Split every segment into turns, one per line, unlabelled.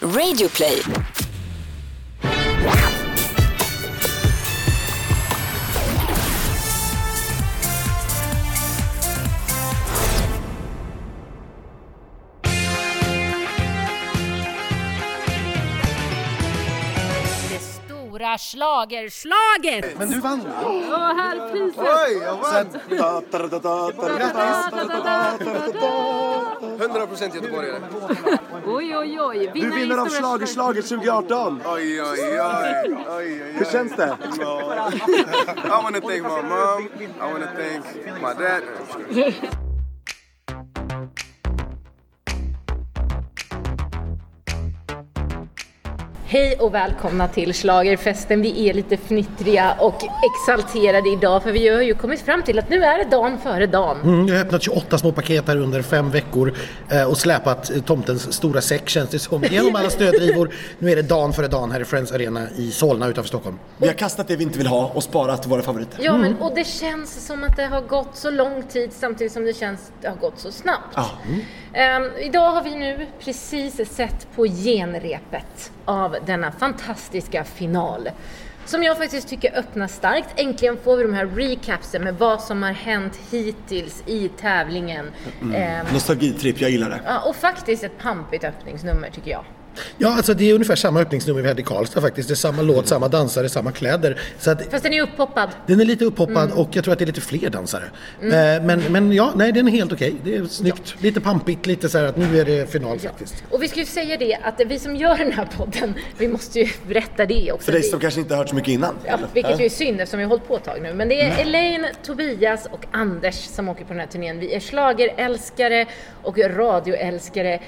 Radioplay.
det stora schlagerslaget.
Men du vann!
Och här priset.
Oj, jag vann!
Grattis!
100% göteborgare.
Oj, oj, oj.
Du vinner av Schlagerslaget 2018!
Oj, oj, oj. oj, oj,
Hur känns det?
I wanna thank my mom. I wanna thank my dad.
Hej och välkomna till Schlagerfesten. Vi är lite fnittriga och exalterade idag för vi har ju kommit fram till att nu är det dagen före dagen.
Mm, jag har öppnat 28 små paket här under fem veckor eh, och släpat eh, tomtens stora säck känns det som. Genom alla snödrivor. Nu är det dan före dan här i Friends Arena i Solna utanför Stockholm.
Vi har kastat det vi inte vill ha och sparat våra favoriter.
Ja, men och det känns som att det har gått så lång tid samtidigt som det känns att det har gått så snabbt.
Ja.
Ehm, idag har vi nu precis sett på genrepet av denna fantastiska final. Som jag faktiskt tycker öppnar starkt. Äntligen får vi de här recapsen med vad som har hänt hittills i tävlingen. Ehm,
Nostalgitripp, jag gillar det.
ja, och faktiskt ett pampigt öppningsnummer tycker jag.
Ja, alltså det är ungefär samma öppningsnummer vi hade i Karlstad faktiskt. Det är samma låt, samma dansare, samma kläder. Så att
Fast den är upphoppad.
den är lite upphoppad och jag tror att det är lite fler dansare. Eh, men, men ja, nej den är helt okej. Det är snyggt. Lite pampigt, lite så här att nu är det final faktiskt.
Och vi ska ju säga det att vi som gör den här podden, vi måste ju berätta det också.
För dig
Vi-
som kanske inte har hört så mycket innan.
Ja,
eller?
vilket ju är synd eftersom vi har hållit på ett tag nu. Men det är Elaine, Tobias och Anders som åker på den här turnén. Vi är schlagerälskare och radioälskare.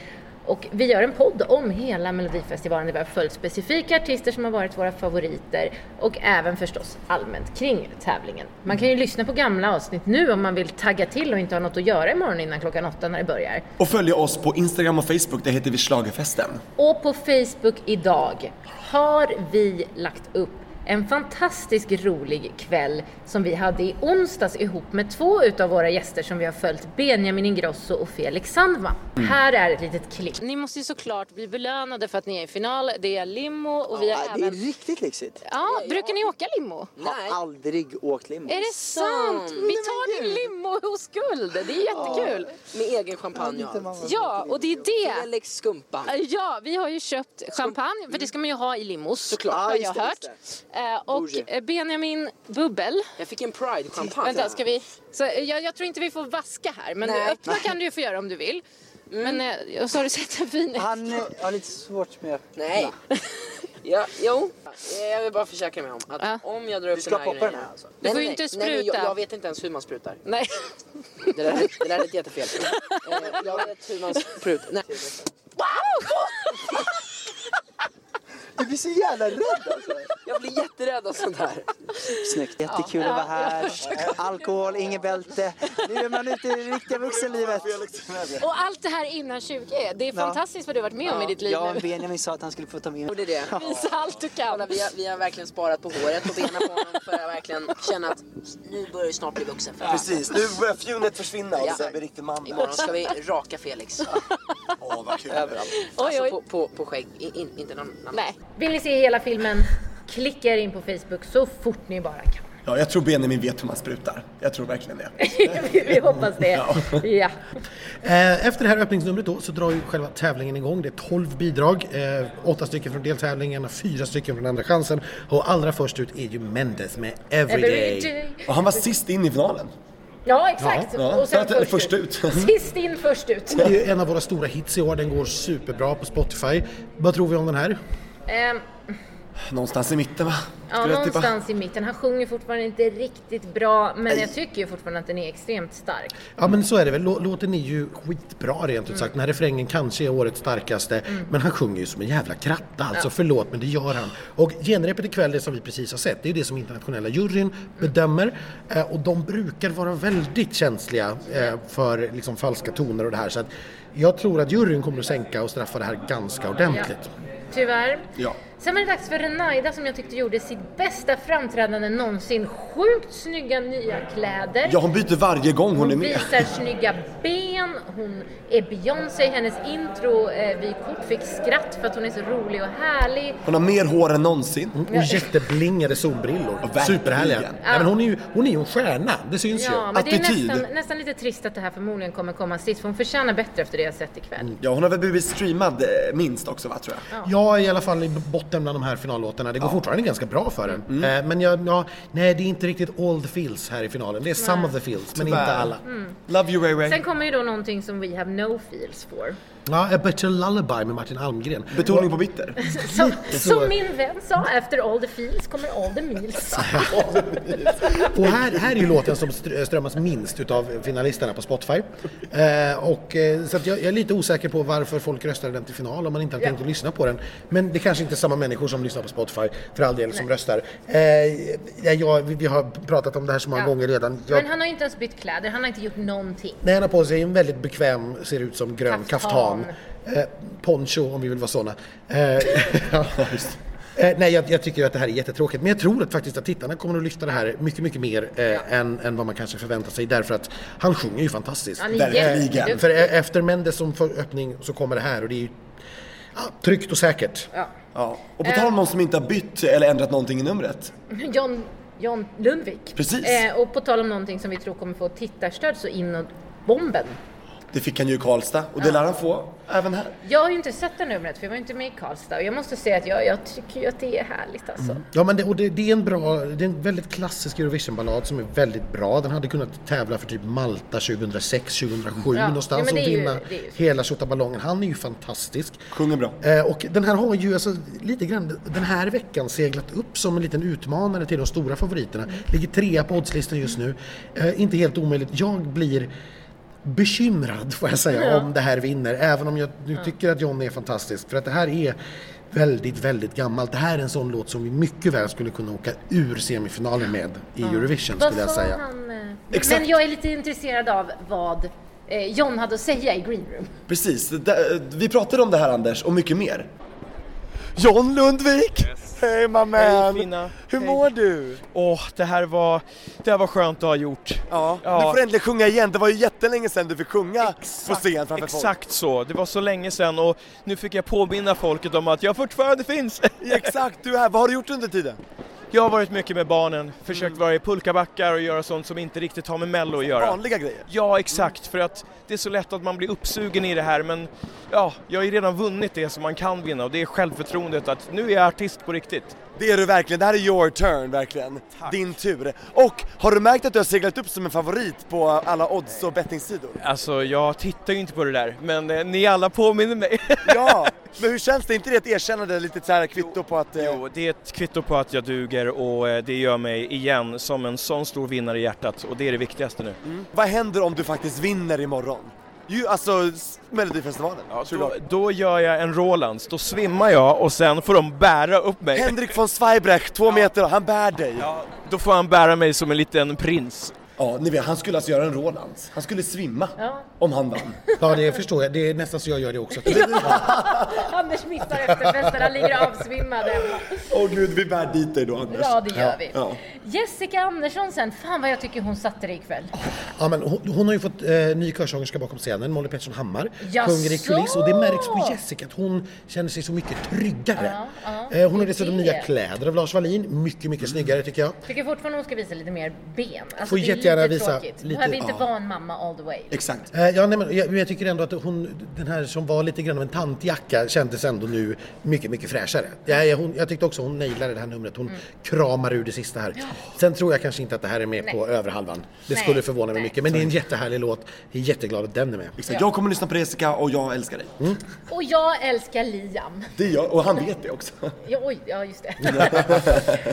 Och vi gör en podd om hela Melodifestivalen där vi har följt specifika artister som har varit våra favoriter och även förstås allmänt kring tävlingen. Man kan ju lyssna på gamla avsnitt nu om man vill tagga till och inte ha något att göra imorgon innan klockan åtta när det börjar.
Och följa oss på Instagram och Facebook, där heter vi Schlagerfesten.
Och på Facebook idag har vi lagt upp en fantastisk rolig kväll som vi hade i onsdags ihop med två utav våra gäster som vi har följt, Benjamin Ingrosso och Felix Sandman. Här är ett litet klipp. Mm. Ni måste ju såklart bli belönade för att ni är i final. Det är limo och vi har
Ja, det är Mm.
även...
riktigt lyxigt.
Ja, brukar ni åka limo?
Jag har aldrig åkt limo.
Är det sant? Vi tar din limo-oskuld. Det är jättekul.
Med egen champagne och allt.
Ja, och det är det.
Felix skumpa.
Eh, Ja, vi har ju köpt champagne, för det ska man ju ha i limos såklart,
Ja,
har
just
jag
det,
hört.
just
Eh,
Bougie.
Och eh, Benjamin Bubbel.
Jag fick en pride-champagne.
Vänta, ska vi... Så, eh, jag, jag tror inte vi får vaska här, men
Nej. Mm.
öppna kan du ju få göra om du vill. Men eh, och så har du sett en fin...
Ah.
Han eh, har lite svårt med att
Nej. ja, jo. Jag vill bara försäkra mig om att
Ja.
om jag drar upp
ska
den här
poppa
grejen.
den här alltså?
Du
får ju inte
Nej, men jag,
spruta.
jag vet inte ens hur man sprutar.
Nej.
Det där, det där lät jättefel. Eh, jag vet hur man sprutar. Nej.
Du blir så jävla rädd alltså.
Jag blir jätterädd av sånt här.
Snyggt. Jättekul att vara här. Alkohol, inget bälte. Nu är man ute i det riktiga vuxenlivet.
Och allt det här innan 20. Det är fantastiskt vad du har varit med om i ditt liv
Jag
nu.
och Benjamin sa att han skulle få ta med
Gjorde det.
Visa allt du kan.
Vi har, vi har verkligen sparat på håret och benen på honom för att verkligen känna att nu börjar du snart bli vuxen. För
Precis, nu börjar eh, fjunet försvinna och så blir riktig man.
Imorgon ska vi raka Felix.
Åh, vad kul.
Oj,
Alltså
oj.
på, på, på skägg, I, in, inte någon annan.
Nej. Vill ni se hela filmen? Klicka er in på Facebook så fort ni bara kan.
Ja, jag tror Benjamin vet hur man sprutar. Jag tror verkligen det.
vi hoppas det. Ja.
Eh, Efter det här öppningsnumret då så drar ju själva tävlingen igång. Det är 12 bidrag, eh, 8 stycken från deltävlingarna, 4 stycken från andra chansen och allra först ut är ju Mendes med Everyday.
Everyday.
Och han var sist in i finalen.
Ja, exakt.
Ja, ja.
Och sen
Så att-
först,
först
ut.
ut.
Sist in, först ut.
Det är ju en av våra stora hits i år, den går superbra på Spotify. Vad tror vi om den här?
Ehm,
Någonstans i mitten, va?
ja,
Skulle jag tippa.
någonstans i mitten. Han sjunger fortfarande inte riktigt bra, men jag tycker ju fortfarande att den är extremt stark.
Ja men så är det väl, Lå- låten är ju skitbra rent ut sagt. Den här refrängen kanske är årets starkaste men han sjunger ju som en jävla kratta alltså, förlåt men det gör han. Och genrepet ikväll, det som vi precis har sett, det är ju det som internationella juryn bedömer eh, och de brukar vara väldigt känsliga eh, för liksom, falska toner och det här så att jag tror att juryn kommer att sänka och straffa det här ganska ordentligt.
Tyvärr.
Ja.
Sen var det dags för Renaida som jag tyckte gjorde sitt bästa framträdande någonsin. Sjukt snygga nya kläder.
Ja, hon byter varje gång hon är med.
Visar snygga ben hon är Beyoncé, hennes intro eh, vykort fick skratt för att hon är så rolig och härlig.
Hon har mer hår än någonsin.
Och jätteblingade solbrillor.
verkligen.
Superhärliga. Nej, men hon, är ju, hon är ju en stjärna, det syns
Ja,
ju.
men
Attityd.
det är nästan, nästan lite trist att det här förmodligen kommer komma sist, för hon förtjänar bättre efter det jag sett ikväll.
Ja, hon har väl blivit streamad eh, minst också va, tror jag.
Jag är i alla fall i botten bland de här finallåtarna. Det går fortfarande ganska bra för den.
Mm.
Eh, Men jag, ja, nej, det är inte riktigt all the feels här i finalen. Det är some of the feels, men inte
Tyvärr.
alla.
Mm.
Love you Ray Ray.
Sen kommer ju då någonting som we have no feels for.
Ja, A Better Lullaby med Martin Almgren.
Betoning på bitter.
Som,
så.
som min vän sa, efter all the feels kommer all the meals.
Och här, här är ju låten som str- strömmas minst utav finalisterna på Spotify. Eh, och, eh, så att jag, jag är lite osäker på varför folk röstade den till final om man inte har tänkt att lyssna på den. Men det kanske inte är samma människor som lyssnar på Spotify för all del som röstar. Eh, ja, jag, vi, vi har pratat om det här så många
Ja.
gånger redan. Jag,
Men han har ju inte ens bytt kläder, han har inte gjort någonting.
Nej, han har på sig en väldigt bekväm, ser ut som grön kaftan.
Kaftan.
Eh, poncho om vi vill vara sådana. Eh, ja. eh, nej, jag, jag tycker ju att det här är jättetråkigt. Men jag tror att faktiskt att tittarna kommer att lyfta det här mycket, mycket mer eh, än, än vad man kanske förväntar sig. Därför att han sjunger ju fantastiskt.
Han är
Verkligen.
jätteduktig.
För e- efter Mendes som för öppning så kommer det här och det är ju ja, tryggt och säkert.
Ja. Och på
Ehm.
tal om någon som inte har bytt eller ändrat någonting i numret.
John, John Lundvik.
Precis.
Eh, och på tal om någonting som vi tror kommer få tittarstöd så inåt bomben.
Det fick han ju i Karlstad och det lär han få även här.
Jag har ju inte sett det numret för jag var ju inte med i Karlstad och jag måste säga att jag, jag tycker ju att det är härligt alltså.
Ja, men det, och det, det är en bra, det är en väldigt klassisk Eurovision-ballad som är väldigt bra. Den hade kunnat tävla för typ Malta 2006, 2007
Ja, ja,
någonstans
men det
och
är ju-
vinna
det är ju-
hela tjottaballongen. Han är ju fantastisk.
Sjunger bra.
Eh, och den här har ju alltså lite grann den här veckan seglat upp som en liten utmanare till de stora favoriterna.
Mm.
Ligger trea på oddslistan just nu. Eh, inte helt omöjligt. Jag blir bekymrad får jag säga om det här vinner. Även om jag nu tycker att John är fantastisk. För att det här är väldigt, väldigt gammalt. Det här är en sån låt som vi mycket väl skulle kunna åka ur semifinalen med i Eurovision
Vad
skulle jag
sa
säga.
han? eh?
Exakt.
Men jag är lite intresserad av vad eh, John hade att säga i Green Room.
Precis, Det där- vi pratade om det här Anders och mycket mer. John Lundvik!
Hej my man!
Hej, fina.
Hur
Hej.
mår du?
Åh, det här var, det här var skönt att ha gjort.
Ja,
Ja.
du får äntligen sjunga igen. Det var ju jättelänge sedan du fick sjunga på scen framför folk.
Exakt så, det var så länge sedan och nu fick jag påminna folket om att jag fortfarande finns.
Exakt, du är här. Vad har du gjort under tiden?
Jag har varit mycket med barnen, försökt vara i pulkabackar och göra sånt som inte riktigt har med mello att göra.
Vanliga grejer.
Ja, exakt, för att det är så lätt att man blir uppsugen i det här men ja, jag har ju redan vunnit det som man kan vinna och det är självförtroendet att nu är jag artist på riktigt.
Det är du verkligen. Det här är your turn, verkligen. Din tur. Och har du märkt att du har seglat upp som en favorit på alla odds och bettingsidor?
Alltså, jag tittar ju inte på det där, men eh, ni alla påminner mig.
Ja, men hur känns det? inte det ett erkännande, lite så här kvitto på att... eh,
Jo, det är ett kvitto på att jag duger och eh, det gör mig igen som en sån stor vinnare i hjärtat och det är det viktigaste nu.
Vad händer om du faktiskt vinner imorgon? Ju, alltså, s- Melodifestivalen.
då,
såklart.
då gör jag en Rolands, då svimmar jag och sen får de bära upp mig.
Henrik von Zweibrecht, två meter, han bär dig.
Ja, då får han bära mig som en liten prins.
Ja, ni vet, han skulle alltså göra en Rolands. Han skulle svimma om han vann.
Ja, det förstår jag. Det är nästan så jag gör det också.
Anders missar efterfesten, han ligger avsvimmad hemma.
Åh gud, vi bär dit dig då Anders.
Ja, det gör vi.
Ja.
Jessica Andersson sen, fan vad jag tycker hon satte det ikväll.
Ja, men hon, hon har ju fått eh, ny körsångerska bakom scenen, Molly Pettersson Hammar,
Jaså?
sjunger i kuliss och det märks på Jessica att hon känner sig så mycket tryggare.
ja,
eh, hon har
det är
dessutom
det.
nya kläder av Lars Wallin, mycket, mycket snyggare tycker jag.
Tycker fortfarande hon ska visa lite mer ben. Alltså,
Får
det är
jättegärna
lite
visa
tråkigt.
lite-
Behöver inte
ja.
vara en mamma all the way.
Exakt.
Eh, ja, nej, men, jag, men jag tycker ändå att hon, den här som var lite grann av en tantjacka kändes ändå nu mycket, mycket fräschare. Ja, jag, hon, jag tyckte också hon nailade det här numret,
Mm.
hon kramar ur det sista här. Sen tror jag kanske inte att det här är med på över halvan. Det
Nej,
skulle förvåna
nej.
mig mycket, men det är en jättehärlig låt. Jag är jätteglad att den är med.
Exakt. Jag kommer lyssna på Jessica och jag älskar dig.
Och jag älskar Liam.
Det gör och han vet det också.
Ja, oj, ja just det.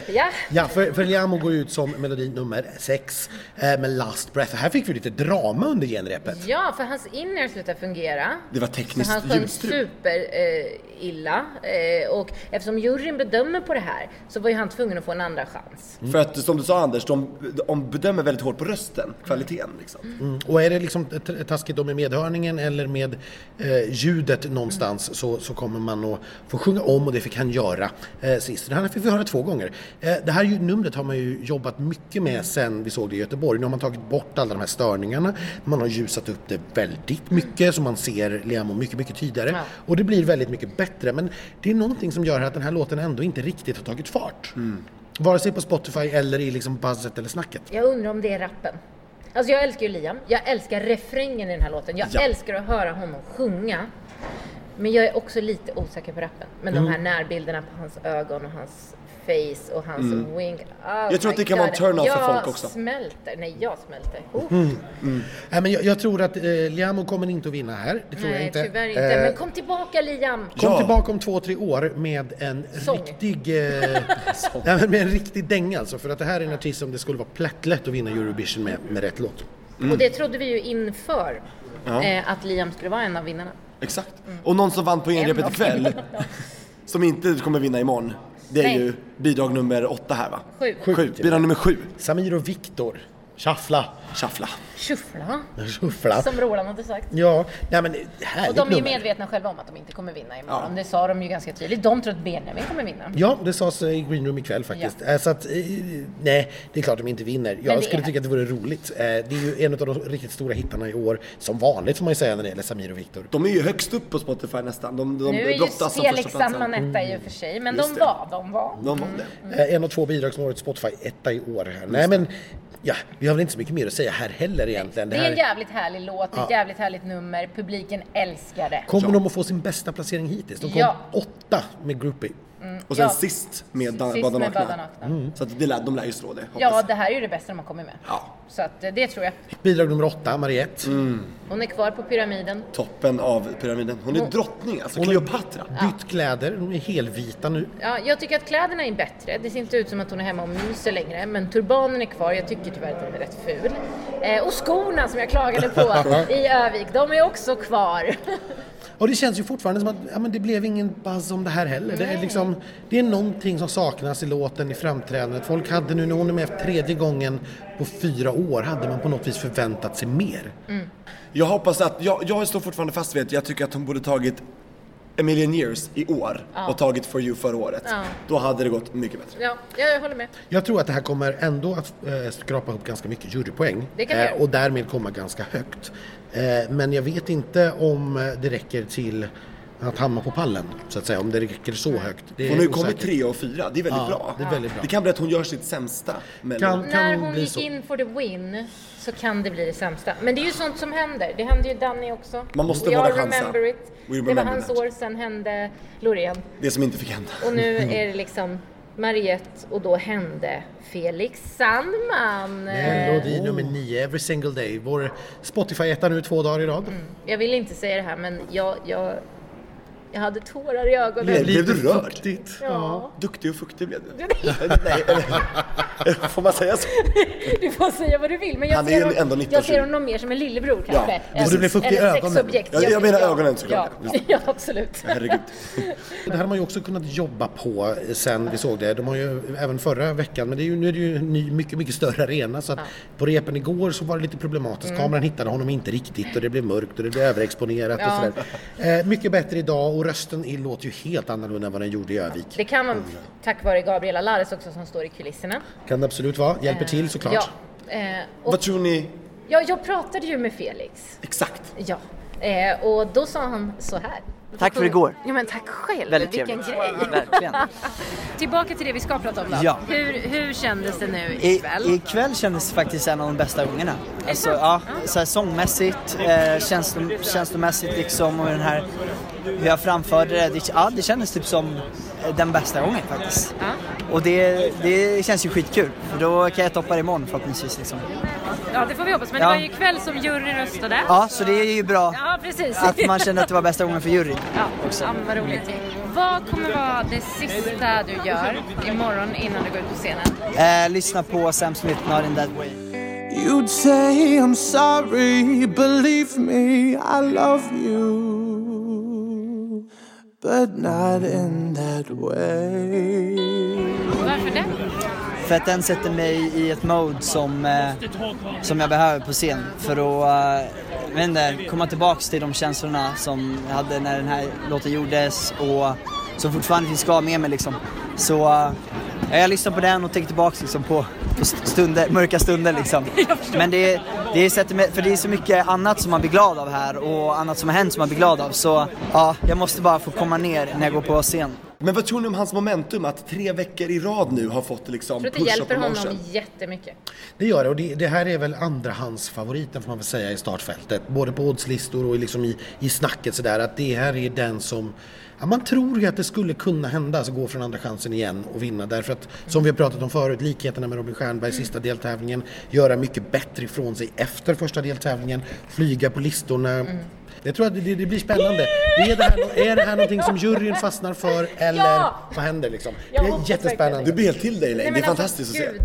ja.
Ja, för, för Liamo går ut som melodi nummer sex eh, med Last Breath. Här fick vi lite drama under genrepet.
ja, för hans inner slutade fungera.
Det var
Så han
tekniskt
sjöng
ljudstrul.
super eh, illa eh, och eftersom juryn bedömer på det här så var ju han tvungen att få en andra chans.
För att som du sa Anders, de, de bedömer väldigt hårt på rösten, kvaliteten liksom.
Mm. Och är det liksom t- taskigt då med medhörningen eller med eh, ljudet någonstans så, så kommer man att få sjunga om och det fick han göra eh, sist. Det här fick vi höra två gånger. Eh, det här ju- numret har man ju jobbat mycket med sen vi såg det i Göteborg. Göteborg. Nu har man tagit bort alla de här störningarna. Man har ljusat upp det väldigt mycket så man ser Liamo mycket, mycket tydligare. Och det blir väldigt mycket bättre. Men det är någonting som gör att den här låten ändå inte riktigt har tagit fart. Vare sig på Spotify eller i liksom buzzet eller snacket.
Jag undrar om det är rappen. Alltså jag älskar ju Liam, jag älskar refrängen i den här låten, jag
Ja.
älskar att höra honom sjunga. Men jag är också lite osäker på rappen. Men
Mm.
de här närbilderna på hans ögon och hans face och hans wink. Oh
Mm. Jag tror att
my
det kan vara
God.
en turn-off
jag
för folk också. Mm.
smälter, nej jag smälter. Oh.
Nej, men jag, jag tror att eh, Liamo kommer inte att vinna här. Det tror
Nej
jag inte.
tyvärr inte,
Eh,
men kom tillbaka Liam!
Kom tillbaka om två, tre år med en
Sång.
riktig... Eh, nej, men med en riktig dänga alltså. För att det här är en artist som det skulle vara plättlätt att vinna Eurovision med, med rätt låt.
Mm.
Och det trodde vi ju inför eh, att Liam skulle vara en av vinnarna.
Exakt. Och någon som vann på genrepet ikväll, som inte kommer vinna imorgon, det är
Nej.
ju bidrag nummer åtta här va?
Sju.
Sju. Bidrag nummer sju.
Samir och Viktor. Shuffla.
Shuffla.
Shuffla,
Shuffla.
som Roland hade sagt.
Ja, nej men härligt
Och de är ju
nummer.
medvetna själva om att de inte kommer vinna imorgon. Det sa de ju ganska tydligt. De tror att Benjamin kommer vinna.
Ja, det sades eh, i Green Room ikväll faktiskt. Eh, Så att, eh, nej, det är klart de inte vinner.
det
Jag
är
skulle
här.
tycka att det vore roligt. Eh, Det är ju en av de riktigt stora hittarna i år, som vanligt får man ju säga när det gäller Samir och Viktor.
De är ju högst upp på Spotify nästan. De, de
Nu är ju
brottas om
Felix
förstaplatsen.
Ammanetta i och för sig, men de
Just det.
var, de var.
De var det.
Eh, En av två bidrag som har varit Spotify-etta i år här. Nej men, ja, vi har väl inte så mycket mer att säga här heller egentligen.
Det
här...
är en jävligt härlig låt, ett jävligt härligt nummer, publiken älskar det.
Kommer de att få sin bästa placering hittills? De kom
Ja. Mm.
åtta med Groupie.
Och sen
Ja.
sist med
Sist
Bada
med
Nakna. Mm.
Bada Nakna.
Så att det lär, de lär ju slå det,
Ja,
hoppas
det här är ju det bästa de har kommit med.
Ja.
Så att, eh, det tror jag.
Bidrag nummer åtta, Mariette.
Mm. Hon är kvar på pyramiden.
Toppen av pyramiden. Hon
Mm.
är drottning alltså, Cleopatra.
Bytt kläder, de är helvita nu.
Ja, jag tycker att kläderna är bättre. Det ser inte ut som att hon är hemma och myser längre. Men turbanen är kvar. Jag tycker tyvärr att den är rätt ful. Eh, och skorna som jag klagade på i Övik, de är också kvar.
Och det känns ju fortfarande som att ja, men det blev ingen buzz om det här heller. Det är, liksom, det är någonting som saknas i låten, i framträdandet. Folk hade nu, när hon är med för tredje gången på fyra år, hade man på något vis förväntat sig mer.
Jag hoppas att, jag, jag står fortfarande fast vid att jag tycker att hon borde tagit A million years i år och tagit For you förra året.
Ja.
Då hade det gått mycket bättre.
Ja, jag håller med.
Jag tror att det här kommer ändå att eh, skrapa upp ganska mycket jurypoäng eh,
Det kan det göra.
och därmed komma ganska högt. Eh, men jag vet inte om eh, det räcker till att hamna på pallen, så att säga, om det räcker så högt. Det är
Hon har ju
osäkert.
kommit tre och fyra, det är väldigt
Ja,
bra.
det är väldigt bra.
Det kan bli att hon gör sitt sämsta Mello.
Kan-
När
bli
hon gick
så.
in for the win så kan det bli det sämsta. Men det är ju sånt som händer. Det hände ju Danny också.
Man måste
We all
våga chansa.
remember it.
We
det var
remember
hans
that.
år, sen hände Loreen.
Det som inte fick hända.
Och nu är det liksom Mariette och då hände Felix Sandman.
Melodi nummer nio, Every single day. Vår Spotify-etta nu två dagar i rad.
Jag vill inte säga det här men jag, jag, jag hade tårar i ögonen.
Blev du rörd?
Ja.
Duktig och fuktig blev du. Nej, eller- får man säga så?
Du får säga vad du vill men jag,
Han är
ser,
ju
hon,
ändå 19,
jag ser honom mer som en lillebror kanske.
precis. Och du
blev fuktig i
Eller
ögonen.
sexobjekt.
Ja, jag menar ögonen såklart.
Ja, ja absolut.
Herregud.
Det här har man ju också kunnat jobba på eh, sen vi såg det. De har ju även förra veckan, men det är ju, nu är det ju en ny, mycket, mycket större arena. Så att på repen igår så var det lite problematiskt.
Mm.
Kameran hittade honom inte riktigt och det blev mörkt och det blev överexponerat
Ja.
och sådär. Eh, mycket bättre idag och rösten i låter ju helt annorlunda än vad den gjorde i Övik.
Det kan vara tack vare Gabriella Lares också som står i kulisserna.
Kan det absolut vara. Hjälper till såklart.
Eh, Ja. Eh, och
Vad tror ni?
ja, jag pratade ju med Felix.
Exakt.
Ja. Eh, och då sa han så här.
Tack för igår.
Ja men tack själv.
Väldigt
Vilken
trevligt.
grej.
Verkligen.
Tillbaka till det vi ska prata om då.
Ja.
Hur, hur kändes det nu
I,
ikväll?
ikväll kändes faktiskt en av de bästa ungarna. Alltså, ja, så här sångmässigt, eh, känslo, känslomässigt liksom och den här hur jag framförde det. det. Ja, det kändes typ som eh, den bästa gången faktiskt. Och det, det känns ju skitkul. För då kan jag toppa det imorgon förhoppningsvis. Liksom.
Ja det får vi hoppas. Men
det Ja. var ju
ikväll som juryn röstade.
Ja, så det är ju bra
precis.
att man kände att det var bästa gången för juryn.
Ja, ja men vad roligt. Vad kommer vara det sista du gör imorgon innan du går ut på scenen?
Eh, lyssna på Sam Smith, Not In That Way.
You'd say I'm sorry, believe me, I love you. But not in that way.
Varför det?
För att den sätter mig i ett mode som, eh, som jag behöver på scen för att eh, jag vet inte, komma tillbaks till de känslorna som jag hade när den här låten gjordes och som fortfarande finns kvar med mig. Liksom. Så eh, jag lyssnar på den och tänker tillbaks liksom, på på st- stunder, mörka stunder liksom. Men det, det sätter mig, för det är så mycket annat som man blir glad av här och annat som har hänt som man blir glad av. Så ja, jag måste bara få komma ner när jag går på scen.
Men vad tror ni om hans momentum att tre veckor i rad nu har fått liksom
tror att det
push-up
hjälper honom
promotion?
jättemycket.
Det gör det och det, det här är väl andrahandsfavoriten får man väl säga i startfältet. Både på oddslistor och liksom i, i snacket sådär att det här är den som Ja, man tror ju att det skulle kunna hända, alltså gå från andra chansen igen och vinna därför att som vi har pratat om förut, likheterna med Robin Stjernberg i sista deltävlingen, göra mycket bättre ifrån sig efter första deltävlingen, flyga på listorna.
Mm.
Jag tror att det, det blir spännande. Är det, här, no- är det här någonting som juryn fastnar för eller
Ja!
vad händer liksom? Det
Jag
är
hoppas
jättespännande.
verkligen.
Du blir helt till dig Elaine, det är
men alltså,
fantastiskt att se.
gud.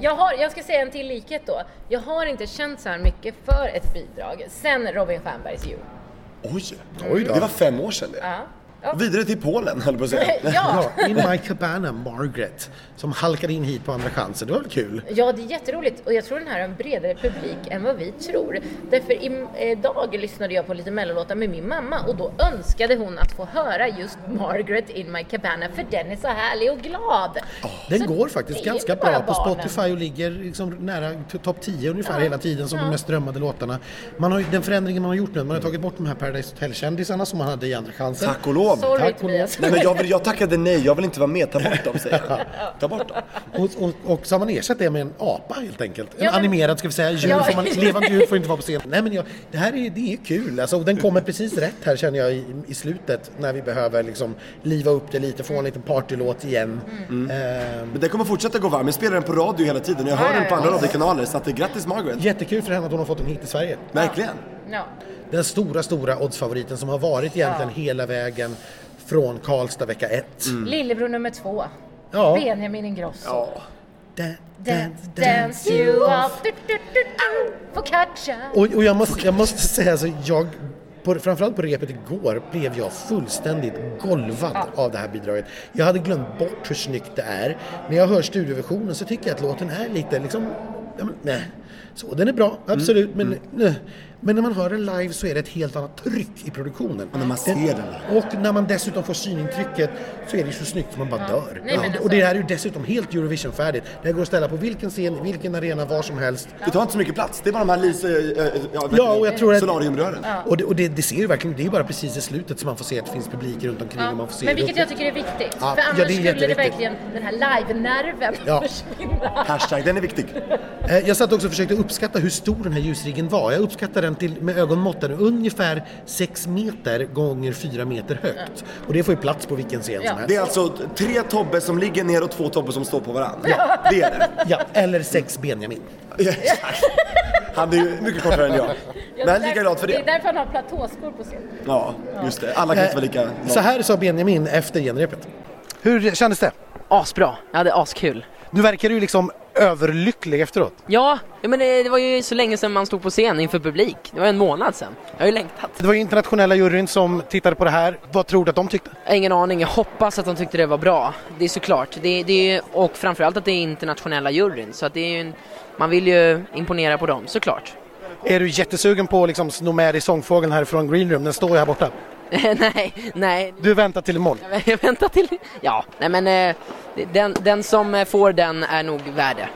Jag, har, jag ska säga en till likhet då. Jag har inte känt så här mycket för ett bidrag sen Robin Stjernbergs jul.
Oj!
Oj då.
Det var fem år sedan det.
Ja. Ja.
Vidare till Polen höll jag på att säga.
Ja.
Ja, in my cabana Margaret som halkade in hit på andra chansen. Det var väl kul?
ja, det är jätteroligt och jag tror den här har en bredare publik än vad vi tror. Därför i- eh, idag lyssnade jag på lite mellolåtar med min mamma och då önskade hon att få höra just Margaret in my cabana för den är så härlig och glad.
Den
Så
går faktiskt
det är
ganska
inte bara
bra på
barnen.
Spotify och ligger liksom nära t- topp 10 ungefär
Ja,
hela tiden som
ja.
de mest strömmade låtarna. Man har, ju- den förändringen man har gjort nu, man har tagit bort de här Paradise Hotel-kändisarna som man hade i andra chansen.
Tack och lov.
Sorry
Tack,
Tobias.
Nej men jag, vill, jag tackade nej, jag vill inte vara med. Ta bort dem säger jag. Ta bort dem.
Och, och, och så har man ersatt det med en apa helt enkelt. En
Ja, men-
animerad ska vi säga, djur
Ja.
får man, levande djur får inte vara på scen. Nej men jag, det här är, det är kul alltså, och den kommer precis rätt här känner jag i, i slutet när vi behöver liksom liva upp det lite, få en liten partylåt igen. Ehm,
Men den kommer fortsätta gå varm. Jag spelar den på radio hela tiden. Jag hör den på andra radiokanaler. Så att det är grattis Margaret.
Jättekul för henne att hon har fått en hit i Sverige.
Verkligen.
Ja.
Den stora, stora oddsfavoriten som har varit egentligen hela vägen från Karlstad vecka ett.
Lillebror nummer två.
Ja.
Benjamin Ingrosso.
Dance,
Dance, dance you off. Du, du, du, du. Focaccia.
Och, och jag, måste, jag måste säga så jag, på, framförallt på repet igår, blev jag fullständigt golvad av det här bidraget. Jag hade glömt bort hur snyggt det är. När jag hör studioversionen så tycker jag att låten är lite liksom, ja, men, nej. Så den är bra, absolut, men nej. Men när man hör den live så är det ett helt annat tryck i produktionen. Och när man ser den Och när man dessutom får synintrycket så är det så snyggt som man bara dör.
Nej, men
Och det
alltså-
här är ju dessutom helt Eurovision-färdigt. Det här går att ställa på vilken scen, vilken arena, var som helst.
Det tar inte så mycket plats. Det är bara de här Lise... Äh, äh,
Ja, och jag tror att-
Solariumrören.
Och, det, och det, det ser ju verkligen, det är bara precis i slutet som man får se att det finns publik runt omkring och man får se
Men
det
vilket
uppe.
jag tycker är viktigt.
Ja,
för
ja,
annars
det är
skulle det
jätteviktigt.
verkligen den här live-nerven
Ja.
försvinna.
Hashtag, den är viktig.
Eh, Jag satt också och försökte uppskatta hur stor den här ljusriggen var. Jag uppskattar den till, med ögonmått, den är ungefär 6 meter gånger 4 meter högt. Och det får ju plats på vilken scen
Ja.
som helst.
Det är alltså t- tre Tobbe som ligger ner och två Tobbe som står på varandra. Det är det.
Ja, eller 6 Benjamin.
Ja, exakt. Han är ju mycket kortare än jag. Men han är lika glad för
Det är
det.
därför han har platåskor på scen.
Ja, just det. Alla kan inte vara lika...
Eh, Så här sa Benjamin efter genrepet. Hur kändes det?
Asbra, jag hade askul.
Nu verkar du liksom överlycklig efteråt.
Ja, ja, men det, det var ju så länge sedan man stod på scen inför publik. Det var en månad sedan. Jag har ju längtat.
Det var ju internationella juryn som tittade på det här. Vad tror du att de tyckte?
Jag har ingen aning, jag hoppas att de tyckte det var bra. Det är såklart. Det, det, är- och framförallt att det är internationella juryn. Så att det är ju en, man vill ju imponera på dem, såklart.
Är du jättesugen på att liksom sno med dig sångfågeln härifrån Green Room? Den står ju här borta.
nej, nej.
Du väntar till imorgon.
Vänta till... Ja, nej men eh, den, den som eh, får den är nog värd det.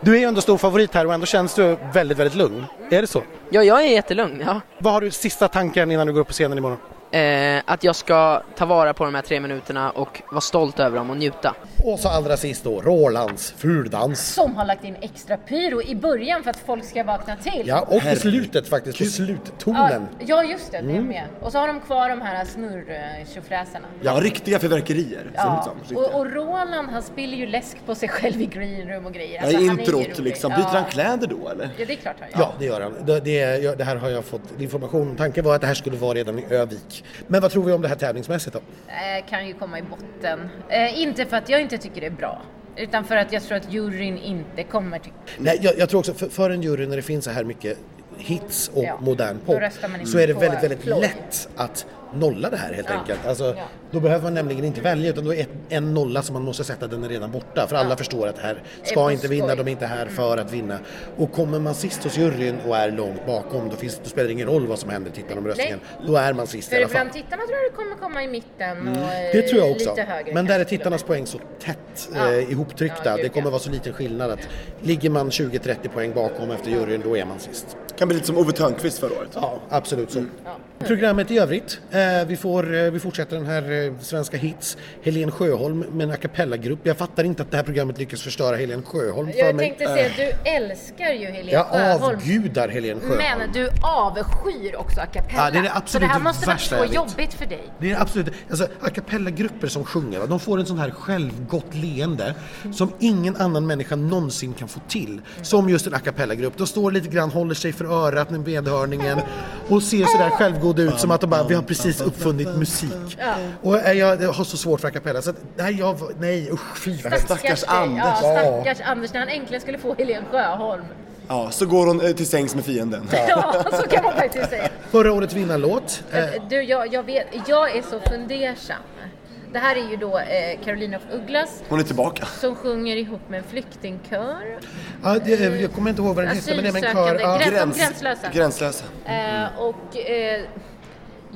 Du är ju ändå stor favorit här och ändå känns du väldigt, väldigt lugn. Är det så?
Ja, jag är jättelugn. Ja.
Vad har du sista tanken innan du går upp på scenen imorgon?
Eh, att jag ska ta vara på de här tre minuterna och vara stolt över dem och njuta.
Och så allra sist då, Rolands fuldans.
Som har lagt in extra pyro i början för att folk ska vakna till.
Ja, och på slutet faktiskt, på sluttonen.
ja just det, det är med. Och så har de kvar de här snurr-tjofräsarna.
Ja, riktiga fyrverkerier. ser det ut som. Riktiga.
Och, och Roland han spiller ju läsk på sig själv i greenroom och grejer. Alltså,
Ja, I
han är ju
introt
rolig.
liksom.
Ja.
Byter han kläder då eller?
Ja, det är klart han gör.
Ja, det gör han. Det, det, är- det här har jag fått information om. Tanken var att det här skulle vara redan i Övik. Men vad tror vi om det här tävlingsmässigt då?
Eh, kan ju komma i botten. Eh, inte för att jag inte tycker det är bra. Utan för att jag tror att juryn inte kommer tycka...
Nej, jag, jag tror också, för, för en jury när det finns så här mycket hits och
Ja.
modern
Då
pop
röstar man inte
så är det
på
väldigt, väldigt
ploj.
lätt att nolla det här helt
Ja.
enkelt. Alltså,
Ja.
Då behöver man nämligen inte välja utan då är ett, en nolla som man måste sätta den är redan borta för alla förstår att här
på
ska inte vinna,
skoj. Mm.
de är inte här för att vinna. Och kommer man sist hos juryn och är långt bakom då, finns, då spelar det ingen roll vad som händer i tittaromröstningen. Då är man sist i
För
alla fall. Mm.
bland tittarna tror jag det kommer komma i mitten och eh,
Det tror jag också.
lite högre.
Men där är
kanske till och med.
tittarnas poäng så tätt
Ja.
eh, ihoptryckta.
Ja, gud,
det kommer
ja.
vara så liten skillnad att ligger man 20-30 poäng bakom efter juryn, då är man sist.
Kan bli lite som Ove Thörnqvist förra året.
Ja, absolut
mm.
så. Programmet i övrigt. Eh, vi, får, eh, vi fortsätter den här eh, Svenska Hits. Helen Sjöholm med en a cappella-grupp. Jag fattar inte att det här programmet lyckas förstöra Helen Sjöholm för
Jag
mig. eh,
tänkte säga, du älskar ju Helene
Jag
Sjöholm.
avgudar Helen Sjöholm.
Men du avskyr också a cappella.
Ja, det är det
så det här
absolut
måste vara
värsta
så
jag vet.
jobbigt för dig.
Det är absolut, alltså a cappella-grupper som sjunger, va? de får en sån här självgott leende som ingen annan människa någonsin kan få till. Som just en a cappella-grupp. De står lite grann, håller sig för örat med medhörningen och ser sådär självgoda ut som att de bara, vi har precis uppfunnit musik.
Mm.
Och eh, jag jag har så svårt för a cappella så att, nej, jag, nej usch, fy vad hemskt.
Stackars Anders. Ja, stackars Anders när han äntligen skulle få Helene Sjöholm.
Ja, så går hon eh, till sängs med fienden.
Ja, så kan man faktiskt säga.
Förra årets vinnarlåt, eh,
Du, jag, jag, vet, jag är så fundersam. Det här är ju då eh, Caroline af Ugglas
Hon är tillbaka.
som sjunger ihop med en flyktingkör.
ja, det, eh, jag kommer inte ihåg vad den heter men det är med en kör.
Asylsökande,
ja.
gräns, de gränslösa.
Gränslösa.
Eh, och eh,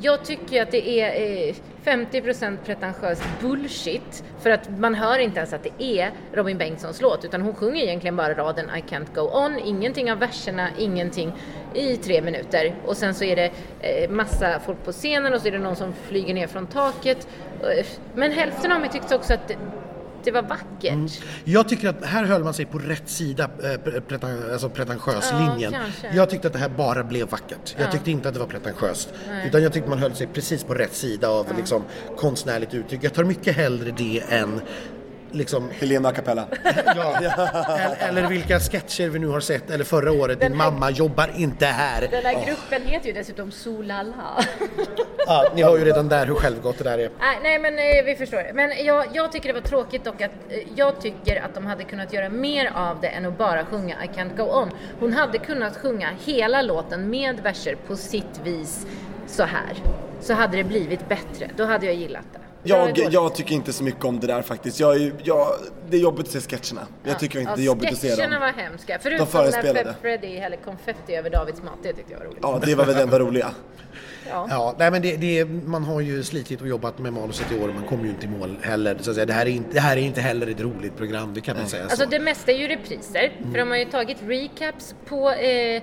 jag tycker ju att det är eh, 50% pretentiöst bullshit. För att man hör inte ens att det är Robin Bengtssons låt. Utan hon sjunger egentligen bara raden I can't go on. Ingenting av verserna, ingenting i tre minuter. Och sen så är det eh, massa folk på scenen och så är det någon som flyger ner från taket. Eh, Men hälften av mig tyckte också att det, det var vackert.
Jag tycker att här höll man sig på rätt sida, eh, pre- pretan- alltså pretentiöslinjen.
Ja, kanske.
jag tyckte att det här bara blev vackert. Jag tyckte inte att det var pretentiöst. Utan jag tyckte man höll sig precis på rätt sida av liksom, konstnärligt uttryck. Jag tar mycket hellre det än Liksom,
Helena a cappella.
ja, eller, eller vilka sketcher vi nu har sett, eller förra året, din mamma jobbar inte här.
Den här gruppen heter ju dessutom Solala.
Ja, ni hör ju redan där hur självgott det där är.
Nej, nej men eh, vi förstår. Men jag, jag tycker det var tråkigt och att eh, jag tycker att de hade kunnat göra mer av det än att bara sjunga I can't go on. Hon hade kunnat sjunga hela låten med verser på sitt vis så här. Så hade det blivit bättre. Då hade jag gillat det.
Jag,
Det var
jag tycker inte så mycket om det där faktiskt. Jag, är ju- jag, det är jobbigt att se sketcherna. Jag tycker inte det är jobbigt att se
Sketcherna
dem.
var hemska. Förutom när
förespelade.
Fred- Freddy hällde konfetti över Davids mat. Det tyckte jag var roligt.
Ja, det var väl det enda roliga.
Ja, nej men det, det, man har ju slitit och jobbat med manuset i år och man kommer ju inte i mål heller. Så att säga. Det, här är inte, det här är inte heller ett roligt program, det kan man säga.
Alltså
så. Mm.
det mesta är ju repriser, för de har ju tagit recaps på eh, eh,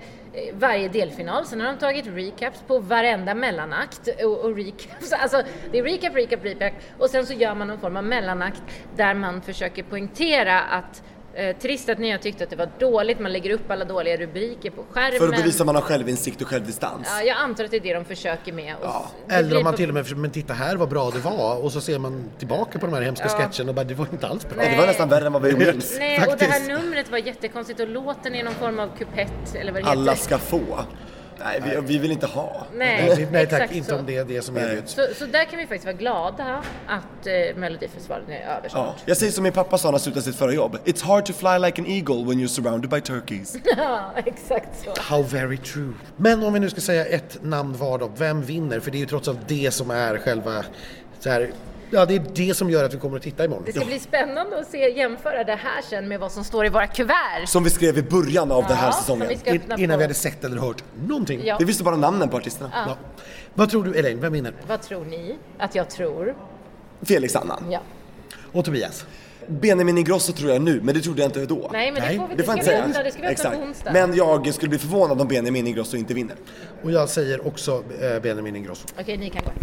varje delfinal, sen har de tagit recaps på varenda mellanakt och, och recaps, alltså det är recap, recap, recap och sen så gör man någon form av mellanakt där man försöker poängtera att eh, trist att ni har tyckt att det var dåligt, man lägger upp alla dåliga rubriker på skärmen.
För då visar man har självinsikt och självdistans.
Ja, jag antar att det är det de försöker med. Och s- det
Eller
blir
om man
på-
till och med men titta här vad bra det var och så ser man tillbaka på de här hemska sketcherna och bara det var inte alls bra.
Ja, det var nästan värre än vad vi minns.
Nej, och det
faktiskt.
här numret var jättekonstigt och låten är någon form av kupett eller vad det heter.
Alla ska få. Nej, vi, vi vill inte ha.
Nej,
Nej,
vi- Nej tack,
exakt
inte
så.
om det är det som erbjuds.
Så, så där kan vi faktiskt vara glada att eh, Melodifestivalen är över
Ja.
snart.
Jag säger som min pappa sa när han slutade sitt förra jobb. It's hard to fly like an eagle when you're surrounded by turkeys.
Ja, exakt så.
How very true. Men om vi nu ska säga ett namn var då, vem vinner? För det är ju trots allt det som är själva så här, ja det är det som gör att vi kommer att titta imorgon.
Det ska bli spännande att se, jämföra det här sen med vad som står i våra kuvert.
Som vi skrev i början av den här
Ja,
säsongen.
som vi ska
In,
öppna
innan
på.
vi hade sett eller hört någonting.
Ja.
Vi visste bara namnen på artisterna.
Ja. Vad tror du Elaine, vem vinner?
Vad tror ni att jag tror?
Felix Annan.
Ja.
Och Tobias?
Benjamin Ingrosso tror jag nu, men det trodde jag inte då.
Nej, men
Nej,
det får vi
Det får jag
det
inte
ska vi
säga.
öppna, det ska vi öppna på onsdag.
Men jag skulle bli förvånad om Benjamin Ingrosso inte vinner.
Och jag säger också eh, Benjamin Ingrosso.
Okej, ni kan gå hem.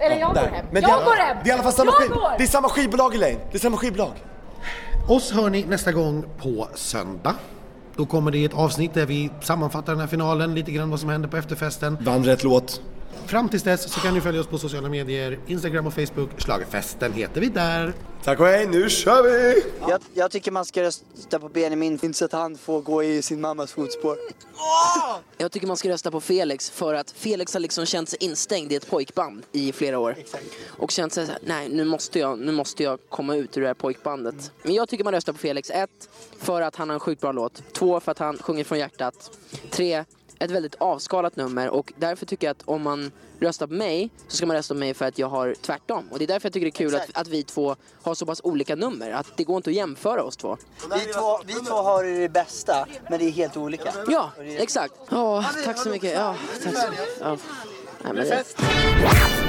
Eller jag går
Där.
hem.
Men det,
jag
är-
går hem!
Det är i alla fall samma,
jag
skiv,
går!
det är samma skivbolag Elaine. Det är samma skivbolag.
Oss hör ni nästa gång på söndag. Då kommer det ett avsnitt där vi sammanfattar den här finalen, lite grann vad som händer på efterfesten.
Vann rätt låt.
Fram tills dess så kan ni följa oss på sociala medier, Instagram och Facebook. Schlagerfesten heter vi där.
Tack och hej, nu kör vi!
Jag, jag tycker man ska rösta på Benjamin, inte så att han får gå i sin mammas fotspår.
Jag tycker man ska rösta på Felix för att Felix har liksom känt sig instängd i ett pojkband i flera år. Och känt sig såhär, nej nu måste, jag, nu måste jag komma ut ur det här pojkbandet. Men jag tycker man röstar på Felix. Ett, för att han har en sjukt bra låt. Två, för att han sjunger från hjärtat. Tre, ett väldigt avskalat nummer och därför tycker jag att om man röstar på mig så ska man rösta på mig för att jag har tvärtom. Och det är därför jag tycker det är kul att, att vi två har så pass olika nummer. Att det går inte att jämföra oss två.
Vi två, vi två har det bästa, men det är helt olika.
Ja, exakt. Ja, tack så mycket. Ja, tack så mycket. Ja. Nej, men det...